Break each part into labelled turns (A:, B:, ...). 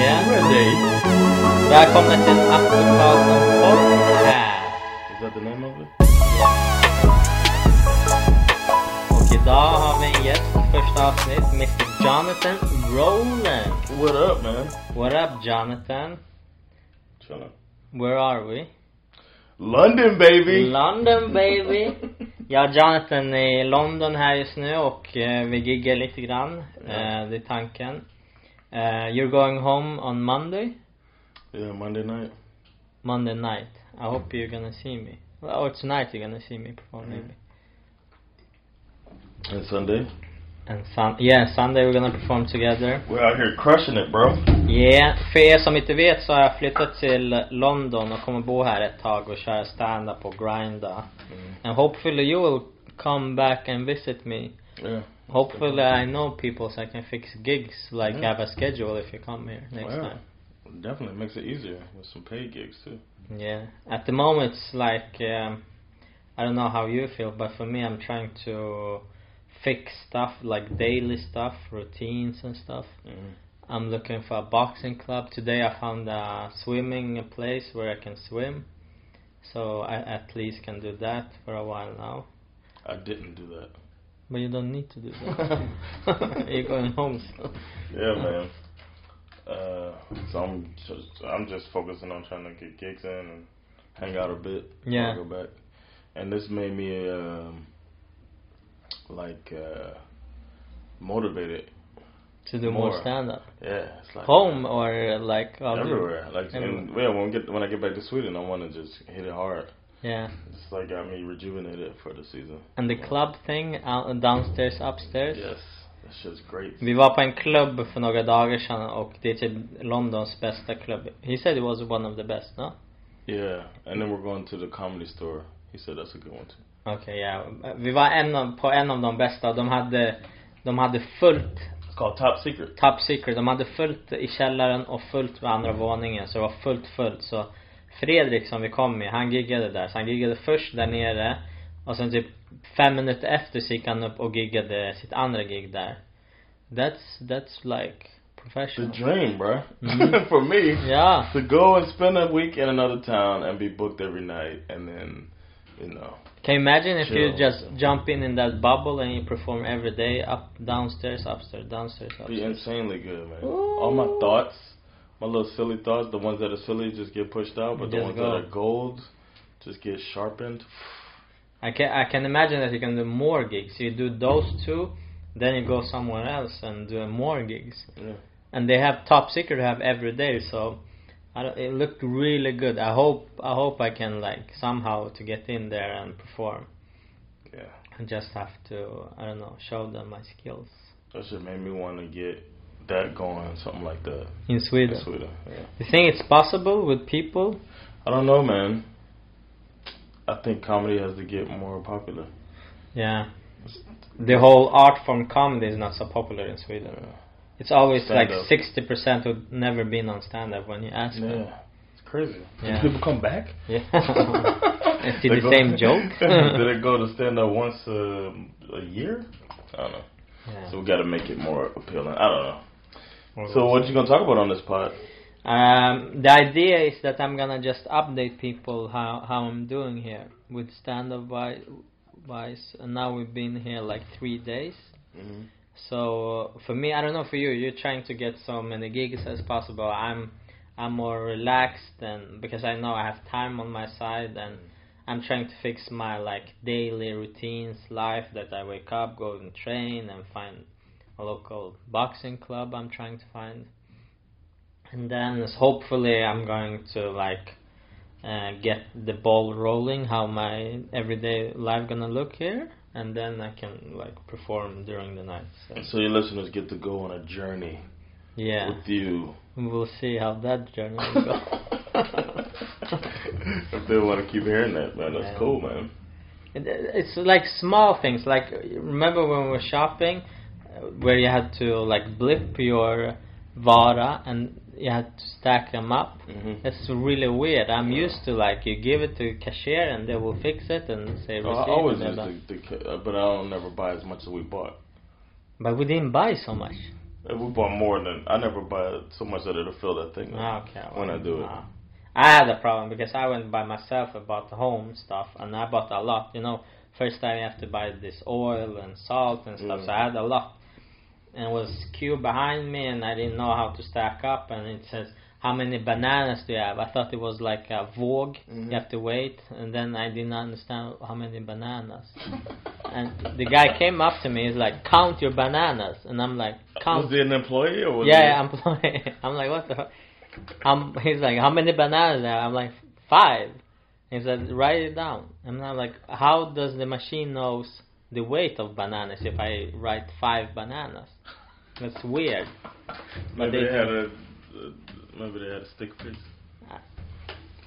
A: dig. Välkomna till Aftonbladet Podcast.
B: Is that the name of it?
A: Och idag har vi en gäst, första avsnitt, Mr Jonathan Rowland.
B: What up, man?
A: What up Jonathan?
B: Chillin'.
A: Where are we?
B: London, baby.
A: London baby! Jag och Jonathan är i London här just nu och eh, vi giggar lite grann.
B: Ja.
A: Eh, det är tanken. Eh, you're going home on Monday?
B: yeah, Monday night.
A: Monday night. I hope you're gonna see me. Or tonight you're gonna see me perform
B: Mm.
A: maybe.
B: And Sunday.
A: And sun- yeah, Sunday we're gonna perform together.
B: We're out here crushing it, bro.
A: Yeah, för er som inte vet så har jag flyttat till London och kommer bo här ett tag och köra stand-up och grinda. And hopefully you will come back and visit me.
B: Yeah.
A: Hopefully I know people so I can fix gigs like
B: Mm.
A: have a schedule if you come here next
B: Wow.
A: time.
B: Definitely makes it easier with some paid gigs, too.
A: Yeah. At the moment it's like um, I don't know how you feel but for me I'm trying to fix stuff like daily stuff, routines and stuff. I'm looking for a boxing club. Today I found a swimming place where I can swim. So I at least can do that for a while now.
B: I didn't do that.
A: But you don't need to do that. You're going home. soon.
B: Yeah, man. Uh, so I'm just I'm just focusing on trying to get gigs in and hang out a bit. before I
A: Yeah.
B: Go back. And this made me um like uh motivated.
A: To do more,
B: More.
A: stand up.
B: Yeah, it's like
A: Home oh, or like all the-
B: everywhere. Like and,
A: everywhere.
B: yeah, when we get when I get back to Sweden, I want to just hit it hard.
A: Yeah.
B: It's like got me rejuvenated for the season.
A: And the club thing, out, downstairs, upstairs.
B: Yes, that shit's great.
A: Vi var på en klubb för några dagar sedan och det är typ Londons bästa klubb. He said it was one of the best, no?
B: Yeah, and then we're going to the comedy store. He said that's a good one too.
A: Okej, ja. Vi var en av, på en av de bästa. De hade, de hade fullt
B: It's called Top Secret.
A: top secret. De hade fullt i källaren och fullt på andra våningen. Så det var fullt, fullt. Så Fredrik som vi kom med, han giggade där. Så han giggade först där nere. Och sen typ fem minuter efter så gick han upp och giggade sitt andra gig där. That's, that's like
B: The
A: professional.
B: dream, bruh.
A: Mhm.
B: For me,
A: Ja.
B: to go and spend a week in another town and be booked every night, and then, you know,
A: Can you imagine if you
B: Chill.
A: just jump in in that bubble and you perform every day up, downstairs, upstairs, downstairs,
B: be
A: upstairs?
B: insanely good, man. All my thoughts, my little silly thoughts, the ones that are silly just get pushed out, but the
A: Just
B: ones
A: go.
B: that are gold just get sharpened.
A: I can I can imagine that you can do more gigs. You do those two, then you go somewhere else and do more gigs.
B: Yeah.
A: And they have top secret have every day, so I don't, it looked really good. I hope I hope I can like somehow to get in there and perform.
B: Yeah.
A: I just have to I don't know show them my skills
B: That shit made me want to get that going, something like that.
A: in Sweden.
B: In Sweden. Yeah.
A: You think it's possible with people?
B: I don't know, man. I think comedy has to get more popular.
A: Yeah. The whole art form comedy is not so popular in Sweden. It's always
B: Stand-up.
A: like sixty percent who've never been on stand up when you ask them.
B: Yeah. It's crazy.
A: Yeah.
B: People come back.
A: Yeah. and see
B: They
A: the
B: go-
A: same joke.
B: Did it go to stand up once um a year? I don't know.
A: Yeah.
B: So we got to make it more appealing. I don't know. So what you gonna talk about on this pod?
A: um, the idea is that I'm gonna just update people how how I'm doing here with stand up wise, wise. And now we've been here like three days. Mm-hmm. So uh, for me, I don't know for you. You're trying to get so many gigs as possible. I'm I'm more relaxed and because I know I have time on my side and I'm trying to fix my like daily routines, life that I wake up, go and train and find a local boxing club I'm trying to find. And then s- hopefully I'm going to like uh, get the ball rolling how my everyday life gonna look here and then I can like perform during the night. So,
B: So your listeners get to go on a journey
A: yeah.
B: with you.
A: We'll see how that journey will go.
B: if they want to keep hearing that, man, that's
A: Yeah.
B: cool, man.
A: It- It's like small things. Like remember when we were shopping, uh, where you had to like blip your vara and you had to stack them up.
B: Mm-hmm.
A: That's really weird. I'm used to like you give it to cashier and they will fix it and say receipt.
B: Oh, I always
A: and they're
B: used
A: done.
B: to, to, ca- uh, but I don't never buy as much as we bought.
A: But we didn't buy so much.
B: Uh, We bought more than I never buy so much that it'll fill that thing up
A: Ah, Okay.
B: when I
A: well,
B: do it.
A: uh, I had a problem because I went by myself and bought the home stuff, and I bought a lot. You know, first time you have to buy this oil and salt and stuff,
B: Mm.
A: so I had a lot. And it was queue behind me, and I didn't know how to stack up. And it says, "How many bananas do you have?" I thought it was like a vogue.
B: Mhm.
A: You have to wait, and then I did not understand how many bananas. And the guy came up to me, he's like, "Count your bananas," and I'm like,
B: Was
A: "Count."
B: he an employee or was
A: Yeah,
B: he,
A: I'm like, I'm like, what the? hu- I'm, he's like, how many bananas? Are? I'm like, five. He said, write it down. And I'm like, how does the machine knows the weight of bananas if I write five bananas? That's weird. but
B: maybe
A: they-
B: they had a uh, maybe they had a stick fix.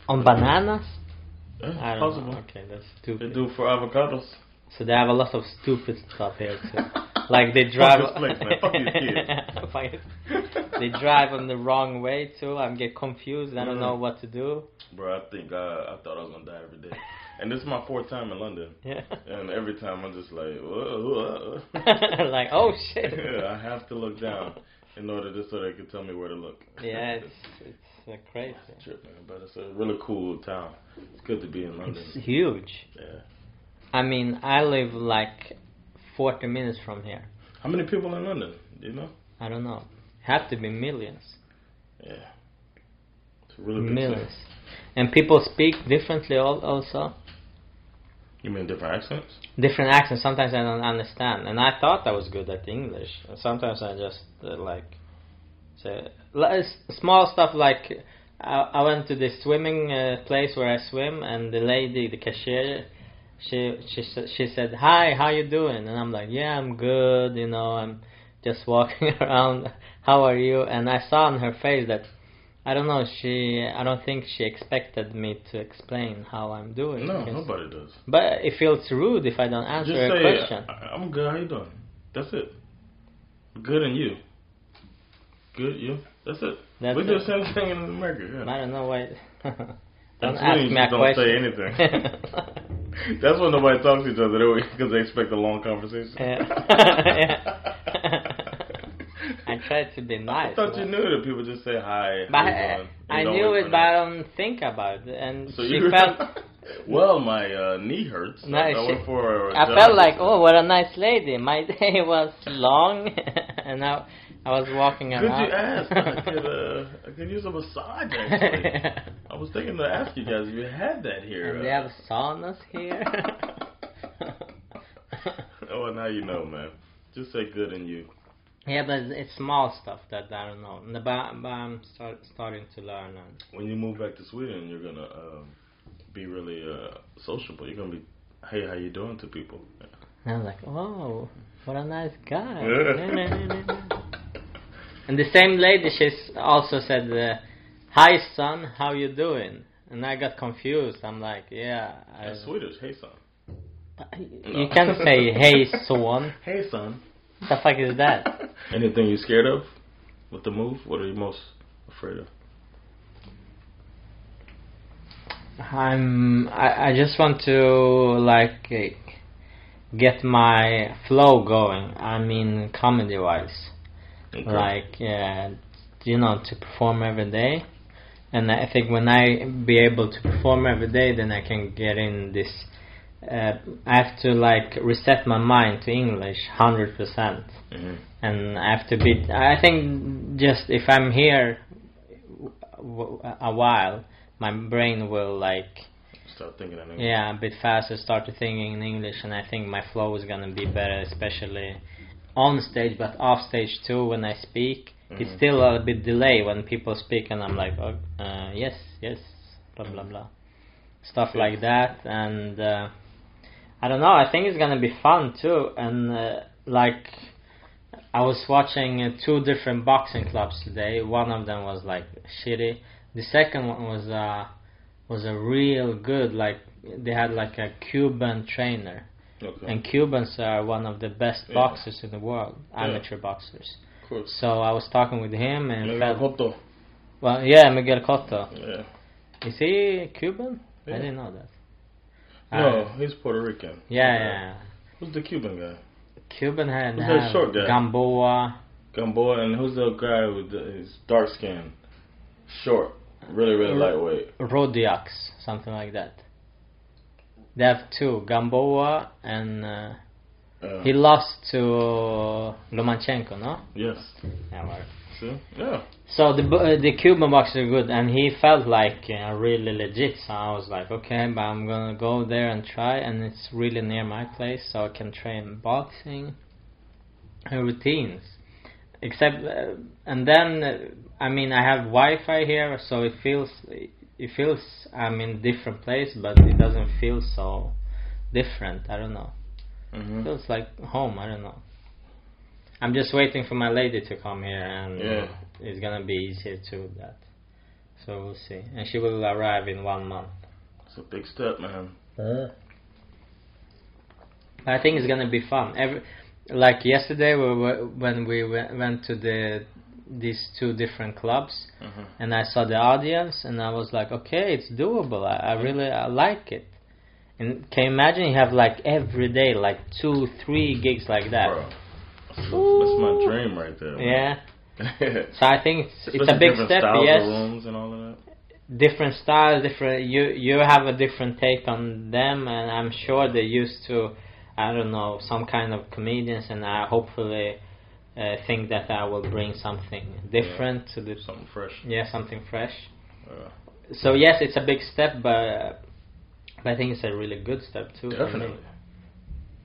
A: On bananas?
B: Yeah,
A: I don't
B: possible.
A: know. Okay, that's
B: They
A: stupid.
B: do for avocados.
A: So they have a lot of stupid stuff here too. Like they drive.
B: Fuck this place, man. Fuck these kids.
A: Fuck it. they drive on the wrong way too. I'm get confused. I don't know
B: Mhm.
A: what to do.
B: Bro, I think I, I thought I was gonna die every day, and this is my fourth time in London,
A: Yeah.
B: and every time I'm just like, whoa, whoa.
A: like, oh shit.
B: I have to look down in order to so they can tell me where to look.
A: Yeah, it's it's uh, crazy.
B: It's a trip, man, but it's a really cool town. It's good to be in London.
A: It's huge.
B: Yeah.
A: I mean, I live like 40 minutes from here.
B: How many people in London? Do you know?
A: I don't know. Have to be millions,
B: Yeah. It's a really good
A: millions.
B: city.
A: And people speak differently al- also.
B: You mean different accents?
A: Different accents. Sometimes I don't understand. And I thought I was good at English. And sometimes I just uh, like say li- s- small stuff like. I I went to this swimming uh, place where I swim, and the lady, the cashier, she she sa- she said, "Hi, how you doing?" And I'm like, "Yeah, I'm good. You know, I'm just walking around. How are you?" And I saw on her face that I don't know. She I don't think she expected me to explain how I'm doing.
B: No,
A: because-
B: nobody does.
A: But it feels rude if I don't answer
B: Just
A: her
B: say
A: question.
B: "I- I'm good. How you doing? That's it. Good and you. Good you. That's it.
A: That's
B: we do
A: it.
B: the same thing in America. Yeah.
A: I don't know why. don't
B: uh, That's
A: ask
B: when you
A: me a
B: just don't say
A: question.
B: anything. That's when nobody talks to each other because they expect a long conversation.
A: Yeah. I tried to be nice.
B: I thought you
A: but-
B: knew that people just say hi.
A: But
B: how you
A: I,
B: doing?
A: I
B: You don't
A: knew
B: wait
A: it,
B: for
A: but I
B: them.
A: don't think about it. And
B: So
A: she
B: you
A: felt,
B: well, my uh, knee hurts.
A: No,
B: I, I
A: she-
B: went for a
A: I
B: job
A: felt like,
B: interview.
A: oh, what a nice lady. My day was long, and I, I was walking
B: Could you
A: around.
B: ask? I could, uh, I could use a massage actually. I was thinking to ask you guys if you had that here.
A: and they
B: uh,
A: have saunas here.
B: oh, now you know, man. Just say good and you.
A: yeah, but it's small stuff that I don't know. But, but I'm start, starting to learn. And,
B: When you move back to Sweden, you're gonna um, be really uh, sociable. You're gonna be, hey, how you doing to people?
A: Uh, and I'm like, oh, what a nice guy.
B: Yeah.
A: And the same lady, she also said, uh, "Hi son, how you doing?" And I got confused. I'm like, "Yeah, I,
B: That's Swedish. Hey, son.
A: you can't say hey son.
B: Hey, son.
A: The fuck is that?"
B: Anything you scared of with the move? What are you most afraid of?
A: I'm. I, I just want to like eh, get my flow going. I mean, comedy wise,
B: Okay.
A: like uh, you know, to perform every day. And I think when I be able to perform every day, then I can get in this. Uh, I have to like reset my mind to English hundred percent,
B: Mhm.
A: and I have to be. I think just if I'm here w- w- a while, my brain will like
B: Start thinking that. name.
A: yeah, a bit faster, start to thinking in English, and I think my flow is gonna be better, especially on stage, but off stage too. When I speak, it's
B: Mhm.
A: still a bit delay when people speak, and I'm like, oh, uh, yes, yes, blah blah blah, stuff like that, and uh, I don't know. I think it's gonna be fun too, and uh, like. I was watching uh, two different boxing clubs today. One of them was like shitty. The second one was uh was a real good like they had like a Cuban trainer
B: Okay.
A: and Cubans are one of the best
B: Yeah.
A: boxers in the world
B: Yeah.
A: amateur boxers
B: of course.
A: so I was talking with him and
B: Maybe
A: felt-
B: Hoto.
A: well yeah Miguel Cotto
B: Yeah.
A: is he Cuban
B: Yeah.
A: I didn't know that
B: No,
A: Uh,
B: he's Puerto Rican.
A: yeah, yeah, yeah.
B: Who's the Cuban guy?
A: Cuban had
B: Who's that
A: had
B: short guy?
A: Gamboa
B: Gamboa and who's the guy with the, his dark skin, short, really really
A: R-
B: lightweight.
A: Rodiax, something like that. They have two, Gamboa and uh,
B: Uh,
A: he lost to Lomachenko, no?
B: yes.
A: Yeah, well.
B: See? Yeah.
A: So the bu- uh, the Cuban boxer is good, and he felt like uh, really legit. So I was like, okay, but I'm gonna go there and try, and it's really near my place, so I can train boxing and routines. Except, uh, and then uh, I mean, I have Wi-Fi here, so it feels it feels I'm in different place, but it doesn't feel so different. I don't know.
B: hmm
A: Feels like home. I don't know. I'm just waiting for my lady to come here, and
B: Yeah.
A: it's gonna be easier to that. So we'll see, and she will arrive in one month.
B: It's a big step, man.
A: But I think it's gonna be fun. Every like yesterday, we were, when we went, went to the these two different clubs,
B: hmm
A: and I saw the audience, and I was like, okay, it's doable. I, I really I like it. And can you imagine you have like every day, like two, three gigs like that?
B: Bro, that's, that's my
A: Ooh.
B: dream right there.
A: Yeah.
B: Yeah.
A: So I think it's, it's a big step.
B: styles
A: Yes,
B: Of rooms and all of that.
A: different styles, different. You you have a different take on them, and I'm sure they used to, I don't know, some kind of comedians, and I hopefully uh, think that I will bring something different to the
B: Something fresh.
A: yeah something fresh.
B: Uh,
A: So yes, it's a big step, but but I think it's a really good step too. for me.
B: definitely.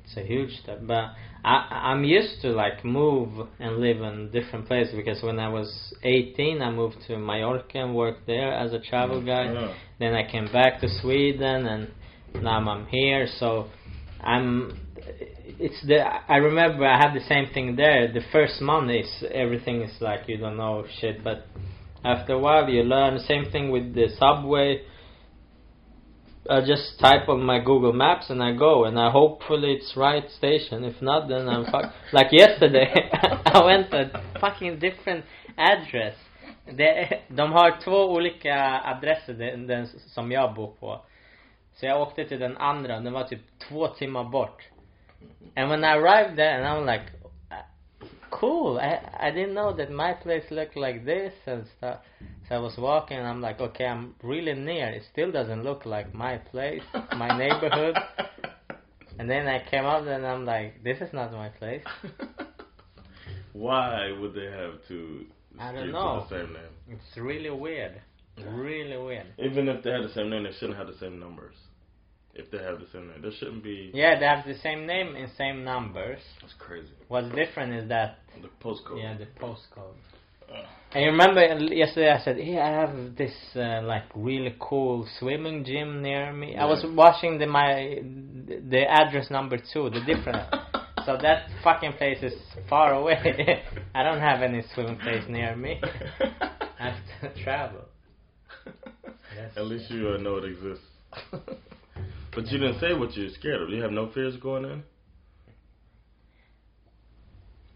A: It's a huge step, but I, I'm used to like move and live in different places because when I was 18, I moved to Mallorca and worked there as a travel guy.
B: Yeah.
A: Then I came back to Sweden, and now I'm here. So I'm. It's the. I remember I had the same thing there. The first month is everything is like you don't know shit, but after a while you learn. Same thing with the subway. I just type on my Google Maps and I go, and I hopefully it's right station. If not, then I'm fuck. like yesterday, I went to a fucking different address. Det- de har två olika adresser den, den som jag bor på. Så jag åkte till den andra, den var typ två timmar bort. And when I arrived there and I'm like, uh, cool, I, I didn't know that my place looked like this and stuff. So I was walking and I'm like, okay, I'm really near. It still doesn't look like my place, my neighborhood. And then I came up and I'm like, this is not my place.
B: Why would they have to
A: I don't
B: give you
A: know.
B: the same name?
A: It's really weird. Really weird.
B: Even if they had the same name, they shouldn't have the same numbers. If they have the same name, there shouldn't be.
A: Yeah, they have the same name and same numbers.
B: That's crazy.
A: What's different is that
B: The postcode.
A: yeah the postcode.
B: Ugh.
A: I remember yesterday I said, "Hey, I have this uh, like really cool swimming gym near me." I was
B: Yeah.
A: watching the my the address number two, the different. so that fucking place is far away. I don't have any swimming place near me. I have to travel. That's-
B: At least you uh, know it exists. but you didn't say what you're scared of. You have no fears going in.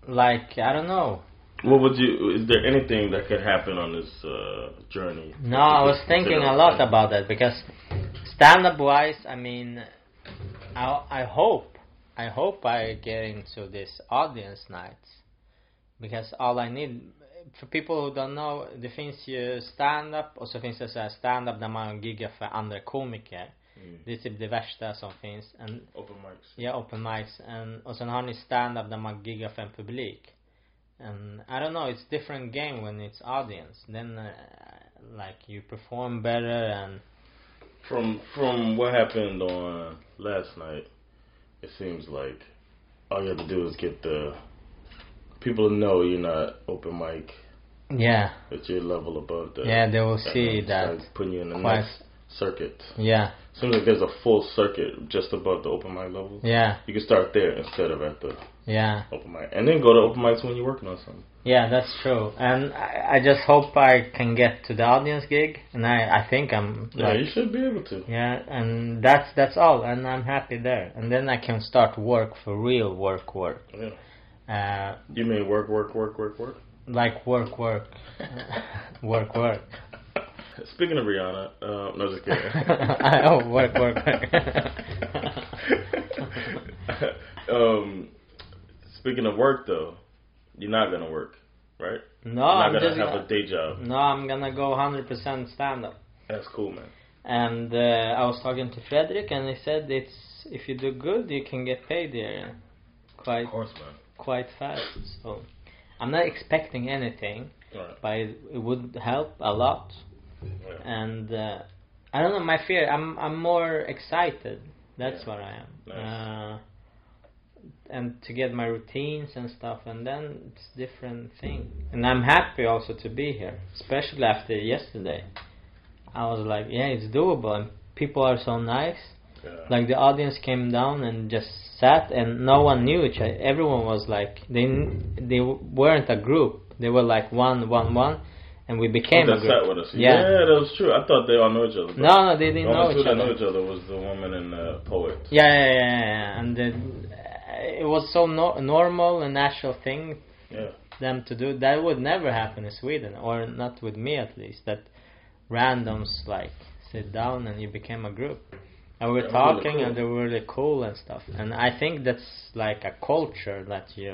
A: Like I don't know.
B: What would you? Is there anything that could happen on this uh, journey?
A: No, I was thinking a lot about that because stand up wise, I mean, I, I hope, I hope I get into this audience nights because all I need, för people who don't know, det finns ju stand up och så finns det så här stand up där man giggar för andra komiker.
B: Mm.
A: Det är typ det värsta som finns. And,
B: Open mics.
A: ja, open mics. And, och sen har ni stand up där man giggar för en publik. And I don't know, it's different game when it's audience. Then uh, like you perform better and
B: From from what happened on last night, it seems like all you have to do is get the people to know you're not open mic,
A: yeah,
B: that you're a level above that.
A: yeah, they will see
B: means
A: that.
B: like putting you in the
A: quite-
B: next circuit.
A: Yeah,
B: Seems like there's a full circuit just above the open mic level.
A: yeah,
B: You can start there instead of at the
A: yeah.
B: open mic, and then go to open mics when you're working on something.
A: Yeah, that's true. And I, I just hope I can get to the audience gig and I, I think I'm
B: Yeah,
A: like,
B: you should be able to.
A: yeah, and that's that's all and I'm happy there. And then I can start work for real work work.
B: Yeah.
A: Uh
B: You mean work, work, work, work, work?
A: like work work. work work.
B: Speaking of Rihanna, uh, no, just kidding.
A: oh, work work work.
B: um, speaking of work, though, You're not gonna work, right?
A: No,
B: You're not
A: I'm
B: gonna
A: just
B: have a day job.
A: no, I'm gonna go 100% stand up.
B: That's cool, man.
A: And uh, I was talking to Frederick, and he said it's if you do good, you can get paid here quite
B: Of course, man.
A: quite fast. So I'm not expecting anything,
B: All right.
A: but it, it would help a lot.
B: Yeah.
A: And uh, I don't know my fear. I'm I'm more excited. That's
B: Yeah.
A: what I am.
B: Nice.
A: Uh, and to get my routines and stuff, and then it's different thing. And I'm happy also to be here, especially after yesterday. I was like, yeah, it's doable, and people are so nice
B: Yeah.
A: like the audience came down and just sat and no one knew each other everyone was like they kn- they weren't a group they were like one one one and we
B: But
A: became a
B: that's
A: group
B: not what I see.
A: Yeah.
B: yeah, that was true. I thought they all know each other. but
A: no no they
B: the
A: didn't know
B: only two
A: each
B: that
A: other
B: know each other was the woman and the poet.
A: Yeah, yeah, yeah, yeah, yeah. and then uh, it was so no- normal and natural thing
B: Yeah.
A: them to do that would never happen in sweden or not with me at least that randoms like sit down and you became a group and we were
B: That was really
A: talking
B: cool.
A: and they were really cool and stuff and i think that's like a culture that you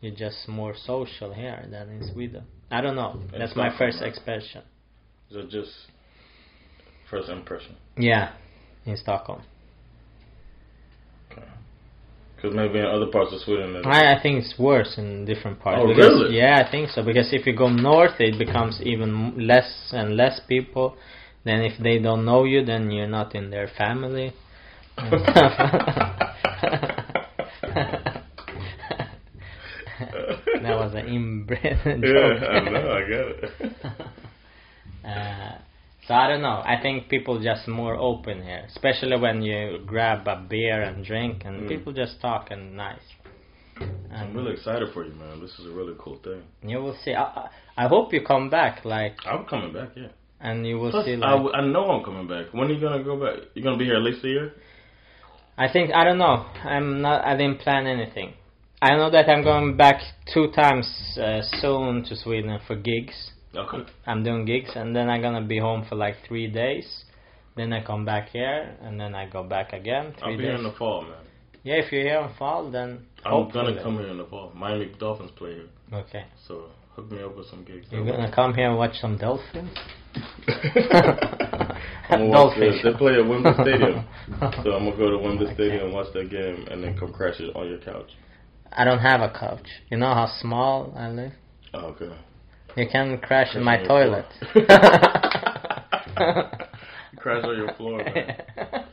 A: you're just more social here than in sweden i don't know
B: It's
A: that's my
B: something,
A: first
B: right?
A: expression
B: So just first impression.
A: yeah in stockholm
B: Because maybe in other parts of Sweden, it-
A: I, I think it's worse in different parts.
B: Oh,
A: because,
B: really?
A: Yeah, I think so. Because if you go north, it becomes even m- less and less people. Then if they don't know you, then you're not in their family. that was an inbred joke.
B: yeah, I know, I get it.
A: Uh, so I don't know. I think people just more open here, especially when you grab a beer and drink, and
B: Mm.
A: people just talk and nice.
B: I'm
A: And-
B: really excited for you, man. This is a really cool thing.
A: You will see. I, I- I hope you come back, like,
B: I'm coming back, yeah.
A: and you will
B: Plus,
A: see.
B: I,
A: Like,
B: w- I know I'm coming back. When are you gonna go back? You gonna be here at least a year?
A: I think I don't know. I'm not. I didn't plan anything. I know that I'm going back two times uh, soon to Sweden for gigs.
B: Okay.
A: I'm doing gigs, and then I'm gonna be home for like three days. Then I come back here, and then I go back again. 3
B: I'll be
A: days.
B: here in the fall, man.
A: yeah, if you're here in fall, then
B: I'm
A: hopefully.
B: gonna come here in the fall. Miami Dolphins play here,
A: Okay,
B: so hook me up with some gigs.
A: you're gonna come here and watch some dolphins.
B: I'm gonna watch
A: Dolphins.
B: this. They play at Wembley Stadium, so I'm gonna go to Wembley Stadium and watch that game, and then come crash it on your couch.
A: I don't have a couch. You know how small I live?
B: Oh, okay.
A: You can crash in my
B: Crash on your
A: toilet.
B: floor. Crash on your floor, man.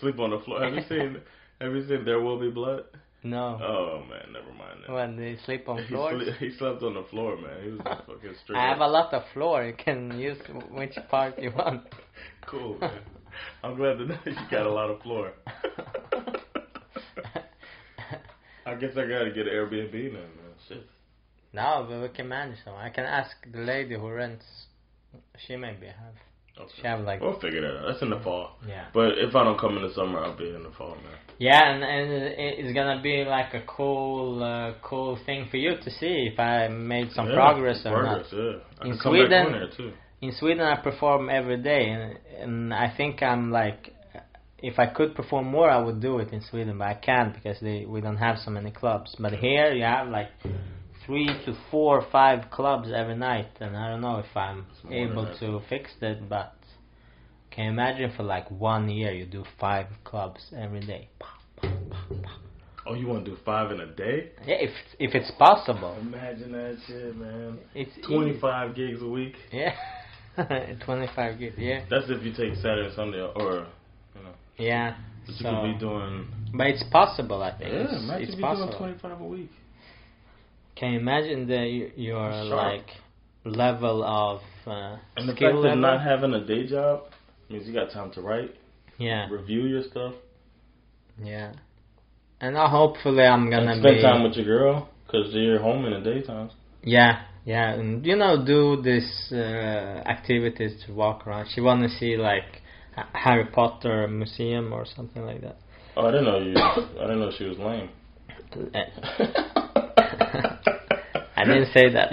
B: Sleep on the floor. Have you seen? Have you seen There Will Be Blood?
A: no.
B: Oh man, never mind. That.
A: When they sleep on
B: He,
A: floors.
B: sle- he slept on the floor, man. He was a fucking straight.
A: I have a
B: up.
A: lot of floor. You can use which part you want.
B: Cool, man. I'm glad to know you got a lot of floor. I guess I gotta get an Airbnb now, man. Shit.
A: no, but we can manage some. I can ask the lady who rents. She maybe have. She
B: Okay.
A: have like
B: We'll figure that out. That's in the fall.
A: yeah.
B: But if I don't come in the summer, I'll be in the fall, man.
A: Yeah, and, and it- it's gonna be like a cool, uh, cool thing for you to see if I made some
B: Yeah,
A: progress or not.
B: progress, yeah. I
A: In
B: can come back
A: Sweden-
B: on there too.
A: In Sweden, I perform every day, and, and I think I'm like, if I could perform more, I would do it in Sweden, but I can't because they we don't have so many clubs. But here, you have like three to four or five clubs every night, and I don't know if I'm
B: It's more than
A: able
B: that.
A: to fix that. But can you imagine for like one year you do five clubs every day?
B: Oh, you want to do five in a day?
A: Yeah, if if it's possible,
B: Imagine that shit, man.
A: it's easy.
B: 25 gigs a week.
A: Yeah, twenty-five gigs. Yeah,
B: That's if you take Saturday, Sunday, or
A: yeah.
B: but you
A: So-
B: could be doing.
A: But it's possible, I think.
B: Yeah,
A: it's,
B: imagine
A: it's
B: if you're doing
A: possible.
B: 25 a week.
A: Can you imagine the y- your
B: Sharp.
A: like level of uh,
B: And the fact
A: skill
B: that
A: level?
B: not having a day job means you got time to write,
A: yeah,
B: review your stuff,
A: yeah. And now hopefully I'm gonna
B: and spend
A: be
B: time with your girl because you're home in the daytime.
A: yeah, yeah, and you know do this uh, activities to walk around. She wanna see like Ha- Harry Potter museum or something like that.
B: Oh, I didn't know you. I didn't know she was lame.
A: Eh, I didn't say that.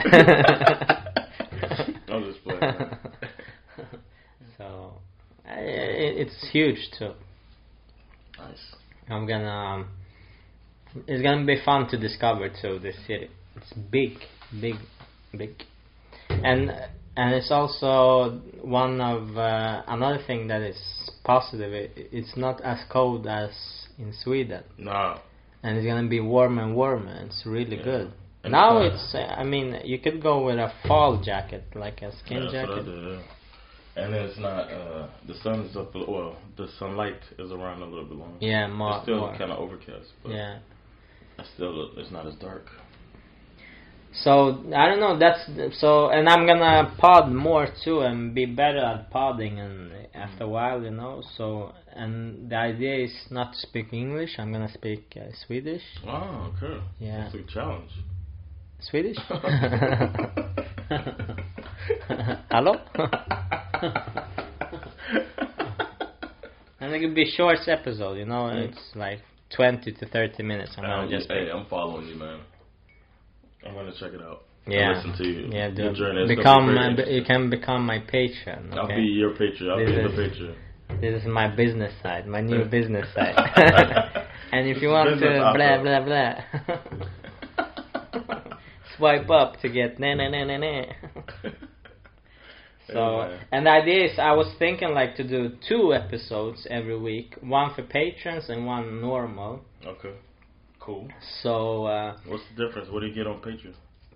B: I'm just playing. man.
A: so I, I- it's huge too.
B: Nice.
A: I'm gonna um, It's gonna be fun to discover too. This city, it's big, big, big, and and it's also one of uh, another thing that is positive. It, it's not as cold as in Sweden,
B: Nah.
A: and it's gonna be warm and warmer. and It's really
B: Yeah.
A: good.
B: And
A: now
B: it's, uh,
A: it's. Uh, I mean, you could go with a fall jacket, like a skin
B: yeah, that's what I
A: jacket.
B: did, yeah. And it's not uh the sun is up a little- well, the sunlight is around a little bit longer.
A: Yeah, more.
B: it's still
A: more.
B: kinda overcast, but
A: yeah.
B: it's still it's not as dark.
A: So I don't know. That's so, and I'm gonna pod more too and be better at podding. And after a while, you know. So and the idea is not to speak English. I'm gonna speak uh, Swedish.
B: Oh, okay.
A: Yeah,
B: It's a challenge.
A: Swedish. Hello. and it could be short episode. You know,
B: Mm.
A: it's like twenty to thirty minutes. I'm gonna
B: Um,
A: just
B: hey, I'm following you, man. I'm gonna check it out. I'll
A: yeah.
B: Listen to you.
A: Yeah,
B: Your
A: do-
B: journey is gonna be
A: become
B: very
A: uh, be- you
B: interesting.
A: can become my patron. Okay?
B: I'll be your picture. I'll
A: This
B: be the
A: is-
B: picture.
A: This is my business side, my new business side. and if
B: It's
A: you
B: a
A: want to
B: business
A: blah
B: offer.
A: blah blah, swipe up to get na na na na na. So,
B: Anyway.
A: and the idea is, I was thinking like to do two episodes every week, one for patrons and one normal.
B: Okay. Cool.
A: So, uh,
B: What's the difference? What do you get on Patreon?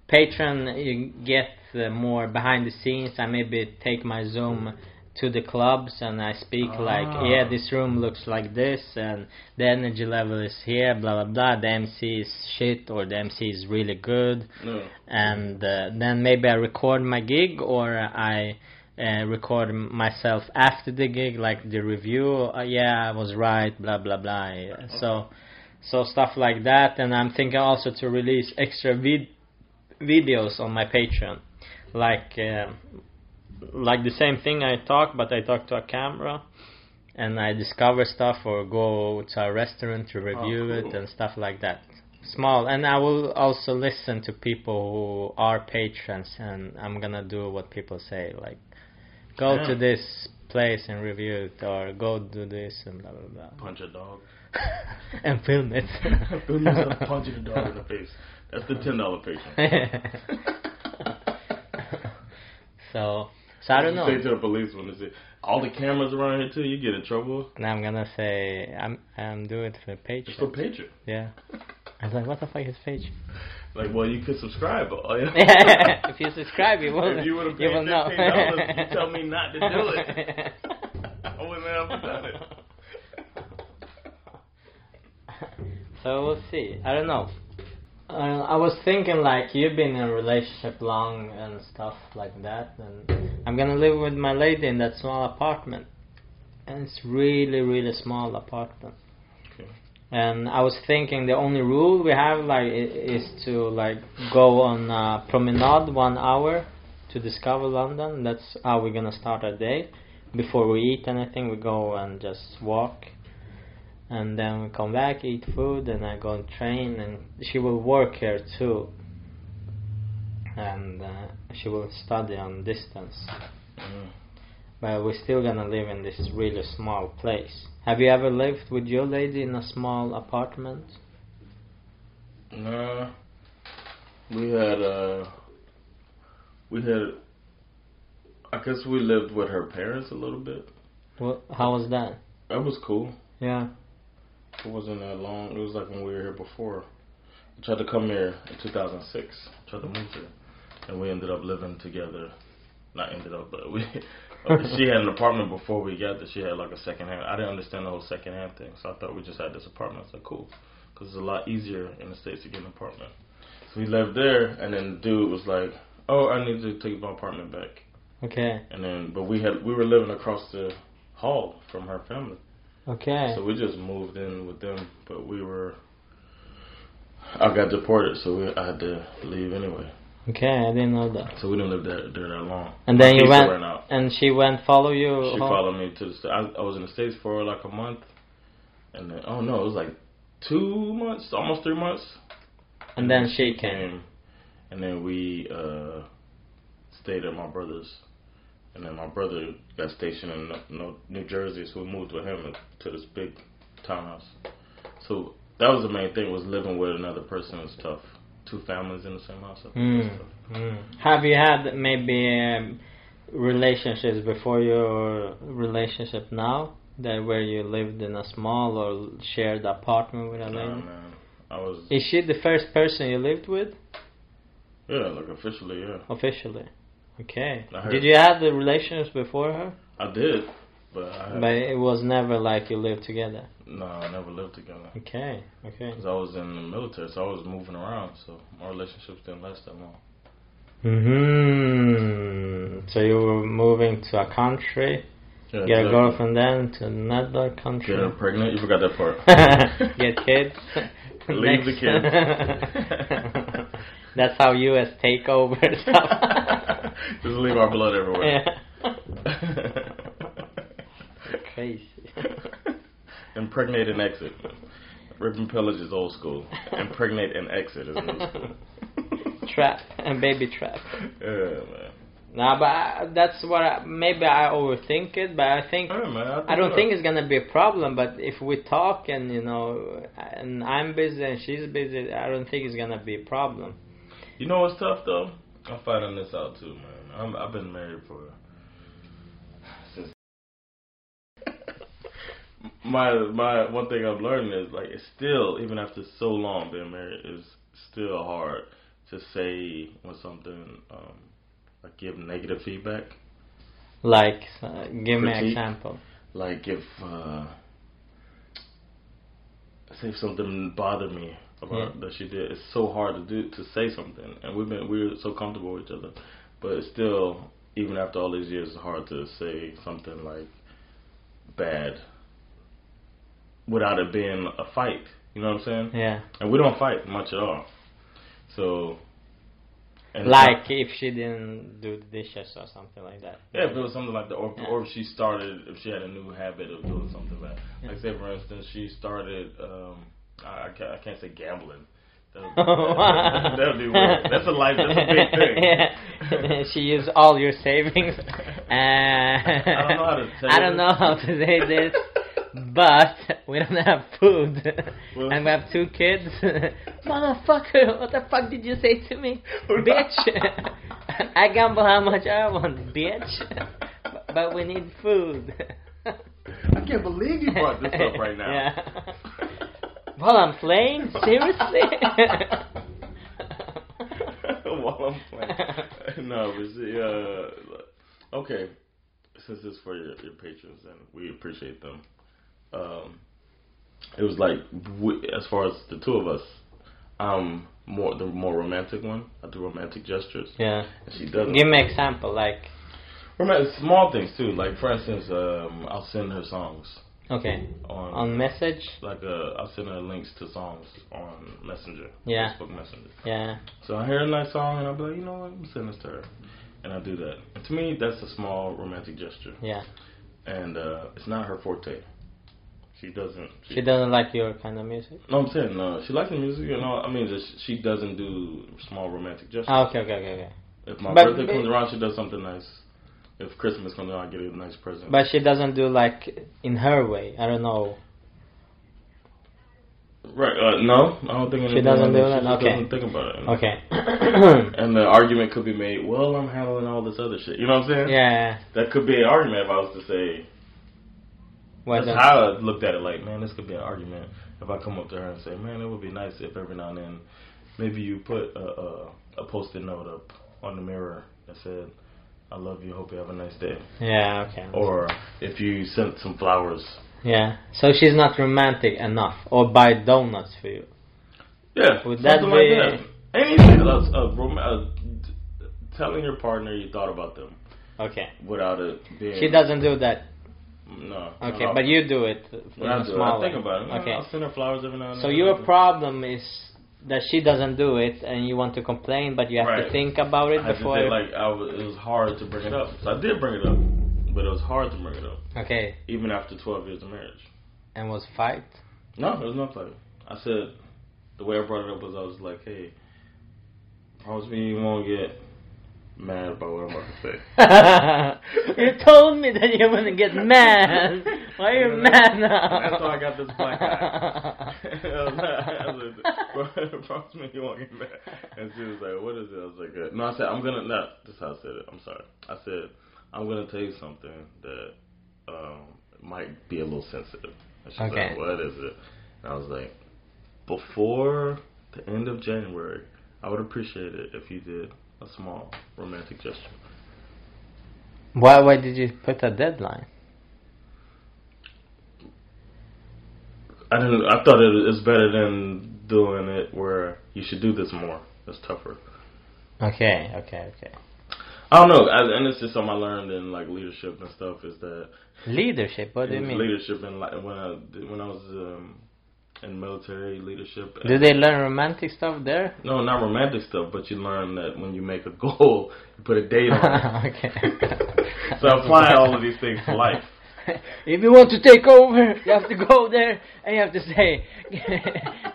A: patron, you get uh, more behind the scenes. I maybe take my Zoom to the clubs and I speak
B: Ah.
A: like, yeah, this room looks like this, and the energy level is here, blah blah blah. The MC is shit or the MC is really good,
B: No.
A: and uh, then maybe I record my gig or I. Uh, record m- myself after the gig, like the review. Uh, yeah, I was right. Blah blah blah. Yeah. So, so stuff like that. And I'm thinking also to release extra vid- videos on my Patreon, like um like the same thing I talk, but I talk to a camera, and I discover stuff or go to a restaurant to review it
B: cool.
A: and stuff like that. Small, and I will also listen to people who are patrons, and I'm gonna do what people say, like go
B: Yeah.
A: to this place and review it, or go do this and blah blah blah,
B: Punch a dog.
A: and film it.
B: Bill yourself punching a dog in the face. That's the ten dollar Patreon.
A: so, so I don't know.
B: Say to the police when they say all the cameras around here too, you get in trouble.
A: Now I'm gonna say I'm I'm doing it for
B: It's for
A: Patreon.
B: Patreon.
A: Yeah. I was like, what the fuck is Patreon?
B: Like, well, you could subscribe. But, oh, yeah.
A: if you subscribe, you will.
B: If you would have paid
A: you will know.
B: fifteen dollars, you tell me not to do it. I wouldn't have done it.
A: so we'll see. I don't know. Uh, I was thinking like you've been in a relationship long and stuff like that, and I'm gonna live with my lady in that small apartment, and it's really really small apartment.
B: Okay.
A: And I was thinking the only rule we have like i- is to like go on a promenade one hour to discover London. That's how we're gonna start our day. Before we eat anything, we go and just walk, and then we come back, eat food, and I go and train. And she will work here too, and uh, she will study on distance.
B: Mm.
A: But we're still gonna live in this really small place. Have you ever lived with your lady in a small apartment?
B: Nah, Uh, we had uh, we had. I guess we lived with her parents a little bit.
A: What, how was that?
B: That was cool.
A: Yeah.
B: It wasn't that long. It was like when we were here before. I tried to come here in 2006. Tried to move here, and we ended up living together. Not ended up, but we. she had an apartment before we got there. She had like a second hand. I didn't understand the whole second hand thing, so I thought we just had this apartment. It's like cool, because it's a lot easier in the states to get an apartment. So we lived there, and then the dude was like, "Oh, I need to take my apartment back."
A: Okay.
B: And then, but we had we were living across the hall from her family.
A: Okay.
B: So we just moved in with them, but we were. I got deported, so we, I had to leave anyway.
A: okay. I didn't know that.
B: So we didn't live there, there that long.
A: And then
B: My
A: you
B: visa
A: went-
B: Ran out.
A: And she went follow you.
B: She
A: home?
B: followed me to the. Sta- I, I was in the states for like a month, and then oh no, it was like two months, almost three months.
A: and then she came.
B: and then we uh, stayed at my brother's, and then my brother got stationed in New- New New Jersey, so we moved with him to this big townhouse. So that was the main thing was living with another person was tough. Two families in the same house. I think
A: Mm.
B: that's tough.
A: Have you had maybe um, relationships before your relationship now that where you lived in a small or shared apartment with a
B: Nah,
A: lady?
B: man. I was
A: Is she the first person you lived with
B: yeah, like officially, yeah.
A: officially? Okay.
B: I heard.
A: Did you have the relationships before her?
B: I did, but I had,
A: But it was never like you lived together.
B: no, I never lived together
A: Okay. Okay.
B: because I was in the military, so I was moving around, so my relationships didn't last that long.
A: Hmm. So you were moving to a country,
B: Yeah,
A: get a
B: exactly.
A: girlfriend then to another country.
B: Get her pregnant. You forgot that part.
A: get kids.
B: Leave the
A: Next.
B: kids.
A: That's how U.S. take over stuff.
B: Just leave our blood everywhere.
A: Yeah. Crazy.
B: Impregnate and exit. Rip and pillage is old school. Impregnate and exit is new school.
A: trap and baby trap.
B: Yeah, man.
A: Nah, but I, that's what I, maybe I overthink it. But I think
B: Yeah, man. uh,
A: I don't think it's gonna be a problem. But if we talk and you know, and I'm busy and she's busy, I don't think it's gonna be a problem.
B: You know what's tough though? I'm finding this out too, man. I'm, I've been married for since. my my one thing I've learned is like it's still even after so long being married is still hard to say when something um like give negative feedback.
A: Like, uh, give me an
B: Critique.
A: example.
B: Like if uh say if something bothered me about
A: Yeah.
B: that she did, it's so hard to do to say something, and we've been we're so comfortable with each other, but it's still even after all these years, it's hard to say something like bad without it being a fight. You know what I'm saying?
A: Yeah.
B: And we don't fight much at all, so. And
A: like if she didn't do the dishes or something like that.
B: Yeah, if it was something like that, or,
A: Yeah.
B: or if she started, if she had a new habit of doing something bad. Like,
A: Yeah.
B: say, for instance, she started, um, I, I, can't, I can't say gambling. That would,
A: Wow.
B: that, would be weird. That's a life, that's a big thing.
A: yeah. She used all your savings. Uh,
B: I don't know how to say
A: I don't
B: this.
A: know how to say this, but we don't have food.
B: Well-
A: and we have two kids. Motherfucker, what the fuck did you say to me? bitch. I gamble how much I want, bitch. but we need food.
B: I can't believe you brought this up right now.
A: Yeah. While I'm playing? Seriously?
B: While I'm playing. no, but see, uh, okay. Since it's for your, your patrons and we appreciate them, um, it was like we, as far as the two of us, I'm more the more romantic one. I do romantic gestures.
A: yeah.
B: And she doesn't.
A: Give me example, like,
B: Romantic small things too. Like for instance, um, I'll send her songs
A: okay,
B: on
A: on message?
B: like uh, I'll send her links to songs on Messenger,
A: Yeah.
B: Facebook Messenger.
A: Yeah.
B: So I hear a nice song and I'll be like, you know what, I'm sending this to her. And I do that. And to me, that's a small romantic gesture.
A: Yeah.
B: And uh, it's not her forte. She doesn't.
A: She doesn't like your kind of music?
B: No, I'm saying no. She likes the music, you know. I mean, just, she doesn't do small romantic gestures.
A: Ah, okay, okay, okay, okay.
B: if my
A: but-
B: birthday
A: but-
B: comes around, she does something nice. If Christmas comes around, I get her a nice present.
A: But she doesn't do, like, in her way. I don't know.
B: right? Uh, no, I don't think
A: She
B: anything
A: doesn't
B: like
A: do that?
B: She just
A: Okay.
B: doesn't think about it.
A: Okay.
B: And the argument could be made. Well, I'm handling all this other shit. You know what I'm saying?
A: yeah.
B: That could be an argument if I was to say,
A: Why
B: That's
A: don't-
B: how I looked at it. Like, man, this could be an argument. If I come up to her and say, man, it would be nice if every now and then, maybe you put a, a, a post-it note up on the mirror that said, "I love you. Hope you have a nice day."
A: Yeah, okay.
B: Or if you sent some flowers.
A: Yeah. So she's not romantic enough, or buy donuts for you.
B: Yeah,
A: Would
B: something
A: that
B: like
A: be-
B: that. Anything else? A uh, rom- a, telling your partner you thought about them
A: Okay.
B: without it being.
A: She doesn't do that.
B: No.
A: Okay,
B: no.
A: but you do it in
B: When I
A: a
B: do it, I
A: small
B: think
A: way.
B: about it. Man,
A: Okay.
B: I'll send her flowers every now and
A: So
B: then.
A: your problem is that she doesn't do it, and you want to complain, but you have to
B: Right.
A: think about it
B: I just
A: before.
B: did, like I was, it was hard to bring it up. So I did bring it up, but it was hard to bring it up,
A: okay,
B: even after 12 years of marriage.
A: and was fight.
B: No, it was not funny. I said the way I brought it up was I was like, hey, promise me you won't get mad about what I'm about to say.
A: you told me that you wouldn't get mad. Why are you
B: Yeah,
A: mad now?
B: That's how I got this black eye. I was like, promise me you won't get mad. And she was like, what is it? I was like, uh, no, I said, I'm going to, no, this is how I said it. I'm sorry. I said, I'm going to tell you something that um, might be a little sensitive. And she's
A: Okay.
B: like, what is it? And I was like, before the end of January, I would appreciate it if you did a small romantic gesture.
A: Why? Why did you put a deadline?
B: I didn't. I thought it was better than doing it where you should do this more. It's tougher.
A: Okay, okay, okay.
B: I don't know, I, and it's just something I learned in like leadership and stuff. Is that
A: Leadership. What do you
B: it's
A: mean?
B: leadership and like when I when I was um, in military leadership.
A: Do
B: and-
A: they learn romantic stuff there?
B: No, not romantic stuff, but you learn that when you make a goal, you put a date on it.
A: okay.
B: so I apply all of these things to life.
A: If you want to take over, you have to go there and you have to say,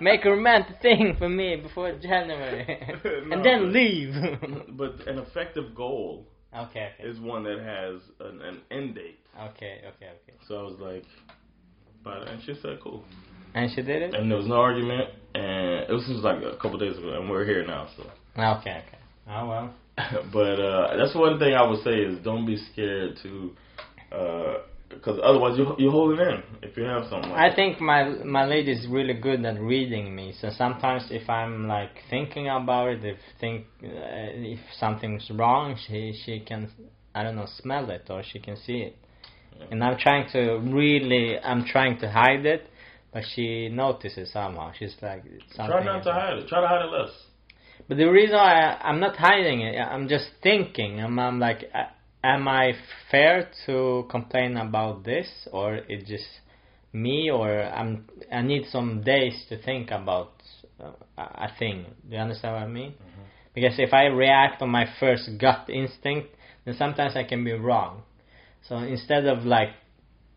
A: make a romantic thing for me before January,
B: No,
A: and then
B: but-
A: leave.
B: But an effective goal
A: okay, okay,
B: is one that has an, an end date.
A: okay, okay, okay.
B: So I was like, but and she said, cool.
A: And she did it.
B: And there was no argument, and it was just like a couple days ago, and we're here now, so.
A: Okay, okay. Oh well.
B: but uh, that's one thing I would say is don't be scared to, because otherwise you you hold it in if you have something. Like
A: I think my my lady is really good at reading me. So sometimes if I'm like thinking about it, if think uh, if something's wrong, she she can I don't know smell it or she can see it.
B: Yeah.
A: And I'm trying to really I'm trying to hide it, but she notices somehow. She's like
B: that.
A: something.
B: Try not to hide it. Try to hide it less.
A: But the reason I I'm not hiding it, I'm just thinking. I'm I'm like, uh, am I fair to complain about this, or it just me, or I'm I need some days to think about uh, a a thing. Do you understand what I mean? Because if I react on my first gut instinct, then sometimes I can be wrong. So instead of like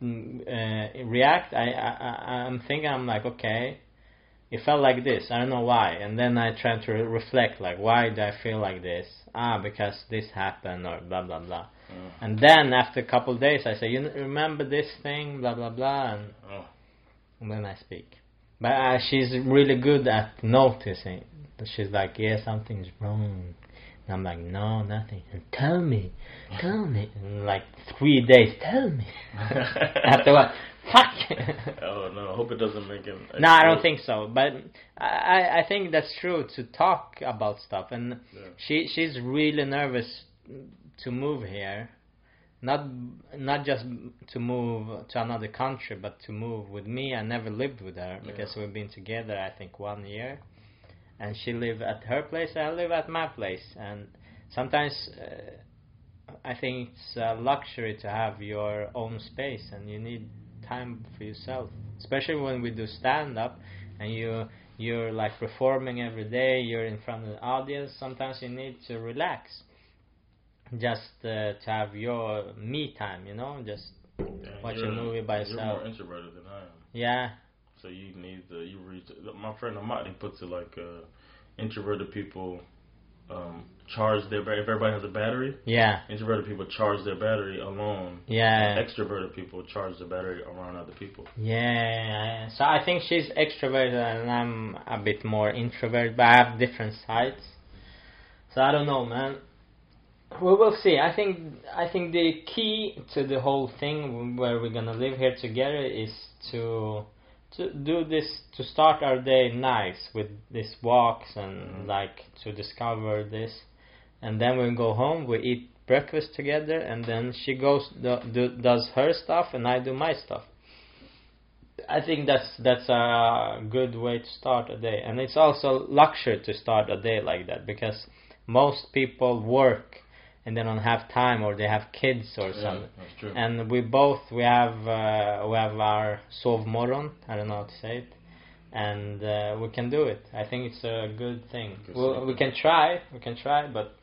A: mm, uh, react, I, I I- I'm thinking I'm like okay it felt like this. I don't know why. And then I tried to re- reflect, like, why did I feel like this? Ah, because this happened, or blah blah blah.
B: Mm.
A: And then after a couple of days, I say, you n- remember this thing, blah blah blah, and,
B: Oh.
A: and then I speak. But uh, she's really good at noticing. She's like, yeah, something's wrong. And I'm like, no, nothing. And tell me, tell me. And like three days, tell me. After what? Fuck.
B: oh no! I hope it doesn't make him.
A: No, I don't think so. But I- I, I think that's true to talk about stuff. And
B: Yeah.
A: she she's really nervous to move here, not not just to move to another country, but to move with me. I never lived with her because we've been together I think one year, and she live at her place. I live at my place, and sometimes. Uh, I think it's a luxury to have your own space and you need time for yourself. Especially when we do stand up and you you're like performing every day, you're in front of the audience, sometimes you need to relax. Just uh, to have your me time, you know, just
B: Yeah,
A: watch
B: you're-
A: a movie by
B: You're more
A: yourself.
B: introverted than I am,
A: Yeah.
B: so you need the you reach. My friend Ahmad he puts it like uh, introverted people um, charge their ba- if everybody has a battery.
A: Yeah.
B: Introverted people charge their battery alone.
A: Yeah.
B: Extroverted people charge the battery around other people.
A: Yeah, so I think she's extroverted and I'm a bit more introverted, but I have different sides. So I don't know, man. We will see. I think I think the key to the whole thing where we're gonna live here together is to to do this to start our day nice with these walks and
B: Mhm.
A: like to discover this, and then we go home. We eat breakfast together, and then she goes do, do, does her stuff, and I do my stuff. I think that's that's a good way to start a day, and it's also luxury to start a day like that because most people work and they don't have time, or they have kids or something.
B: that's true.
A: And we both we have uh, we have our sovmoron. I don't know how to say it, and uh, we can do it. I think it's a good thing.
B: Good
A: We,
B: thing.
A: we can try, we can try, but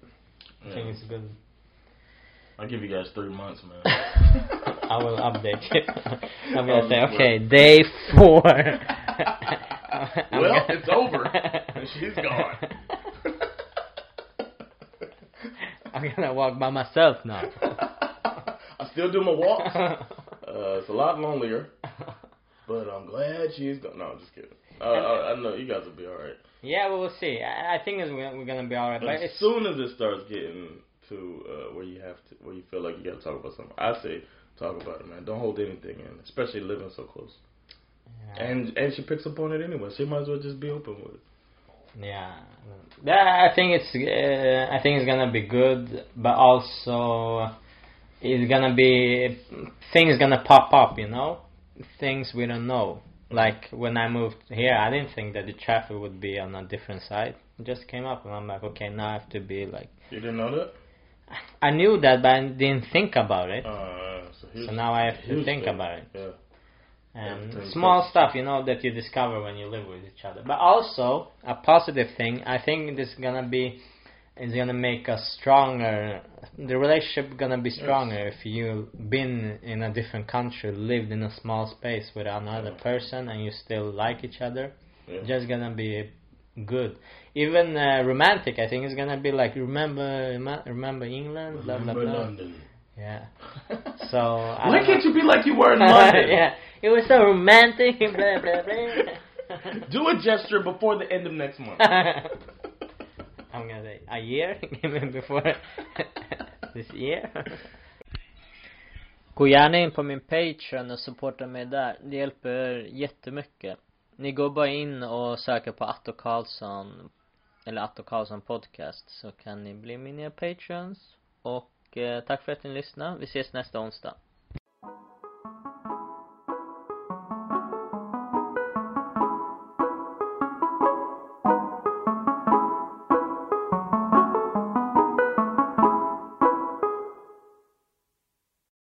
A: I
B: Yeah.
A: think it's good.
B: I'll give you guys three months, man.
A: I will update you. I'm
B: Oh,
A: gonna say
B: this
A: okay, day four. I'm
B: well,
A: gonna-
B: it's over. She's gone.
A: I'm gonna walk by myself now.
B: I still do my walks. Uh, Uh, it's a lot lonelier, but I'm glad she's gone. No, I'm just kidding. Uh, I, I know you guys will be all right.
A: yeah, well, we'll see. I, I think it's, we're, we're gonna be alright. But
B: As
A: it's
B: soon as it starts getting to uh, where you have to, where you feel like you got to talk about something, I say talk about it, man. Don't hold anything in, especially living so close.
A: yeah,
B: And and she picks up on it anyway. She might as well just be open with it.
A: yeah. Yeah, I think it's uh, I think it's gonna be good, but also it's gonna be things gonna pop up, you know, things we don't know. Like when I moved here, I didn't think that the traffic would be on a different side. It just came up, and I'm like, okay, now I have to be like.
B: You didn't know that?
A: I knew that, but I didn't think about Oh, it.
B: Uh, so, here's,
A: So now I have to
B: here's
A: think
B: the-
A: about it.
B: Yeah.
A: and
B: Everything
A: Um, small
B: goes-
A: stuff you know that you discover when you live with each other but also a positive thing i think this is gonna be is gonna make us stronger the relationship gonna be stronger if you been in a different country lived in a small space with another
B: Yeah.
A: person and you still like each other
B: Yeah.
A: just gonna be good even uh, romantic i think it's gonna be like remember rema- remember england blah blah
B: Remember
A: blah
B: London.
A: yeah so I
B: Why
A: don't know.
B: can't you be like you were in London?
A: yeah, it was so romantic. blah blah blah.
B: Do a gesture before the end of next month.
A: I'm gonna say a year before this year. Gå gärna in på min Patreon och supporta mig där. Det hjälper er jättemycket. Ni går bara in och söker på Atto Karlsson eller Atto Karlsson podcast så kan ni bli mina Patreons. Och eh, tack för att ni lyssnade. Vi ses nästa onsdag.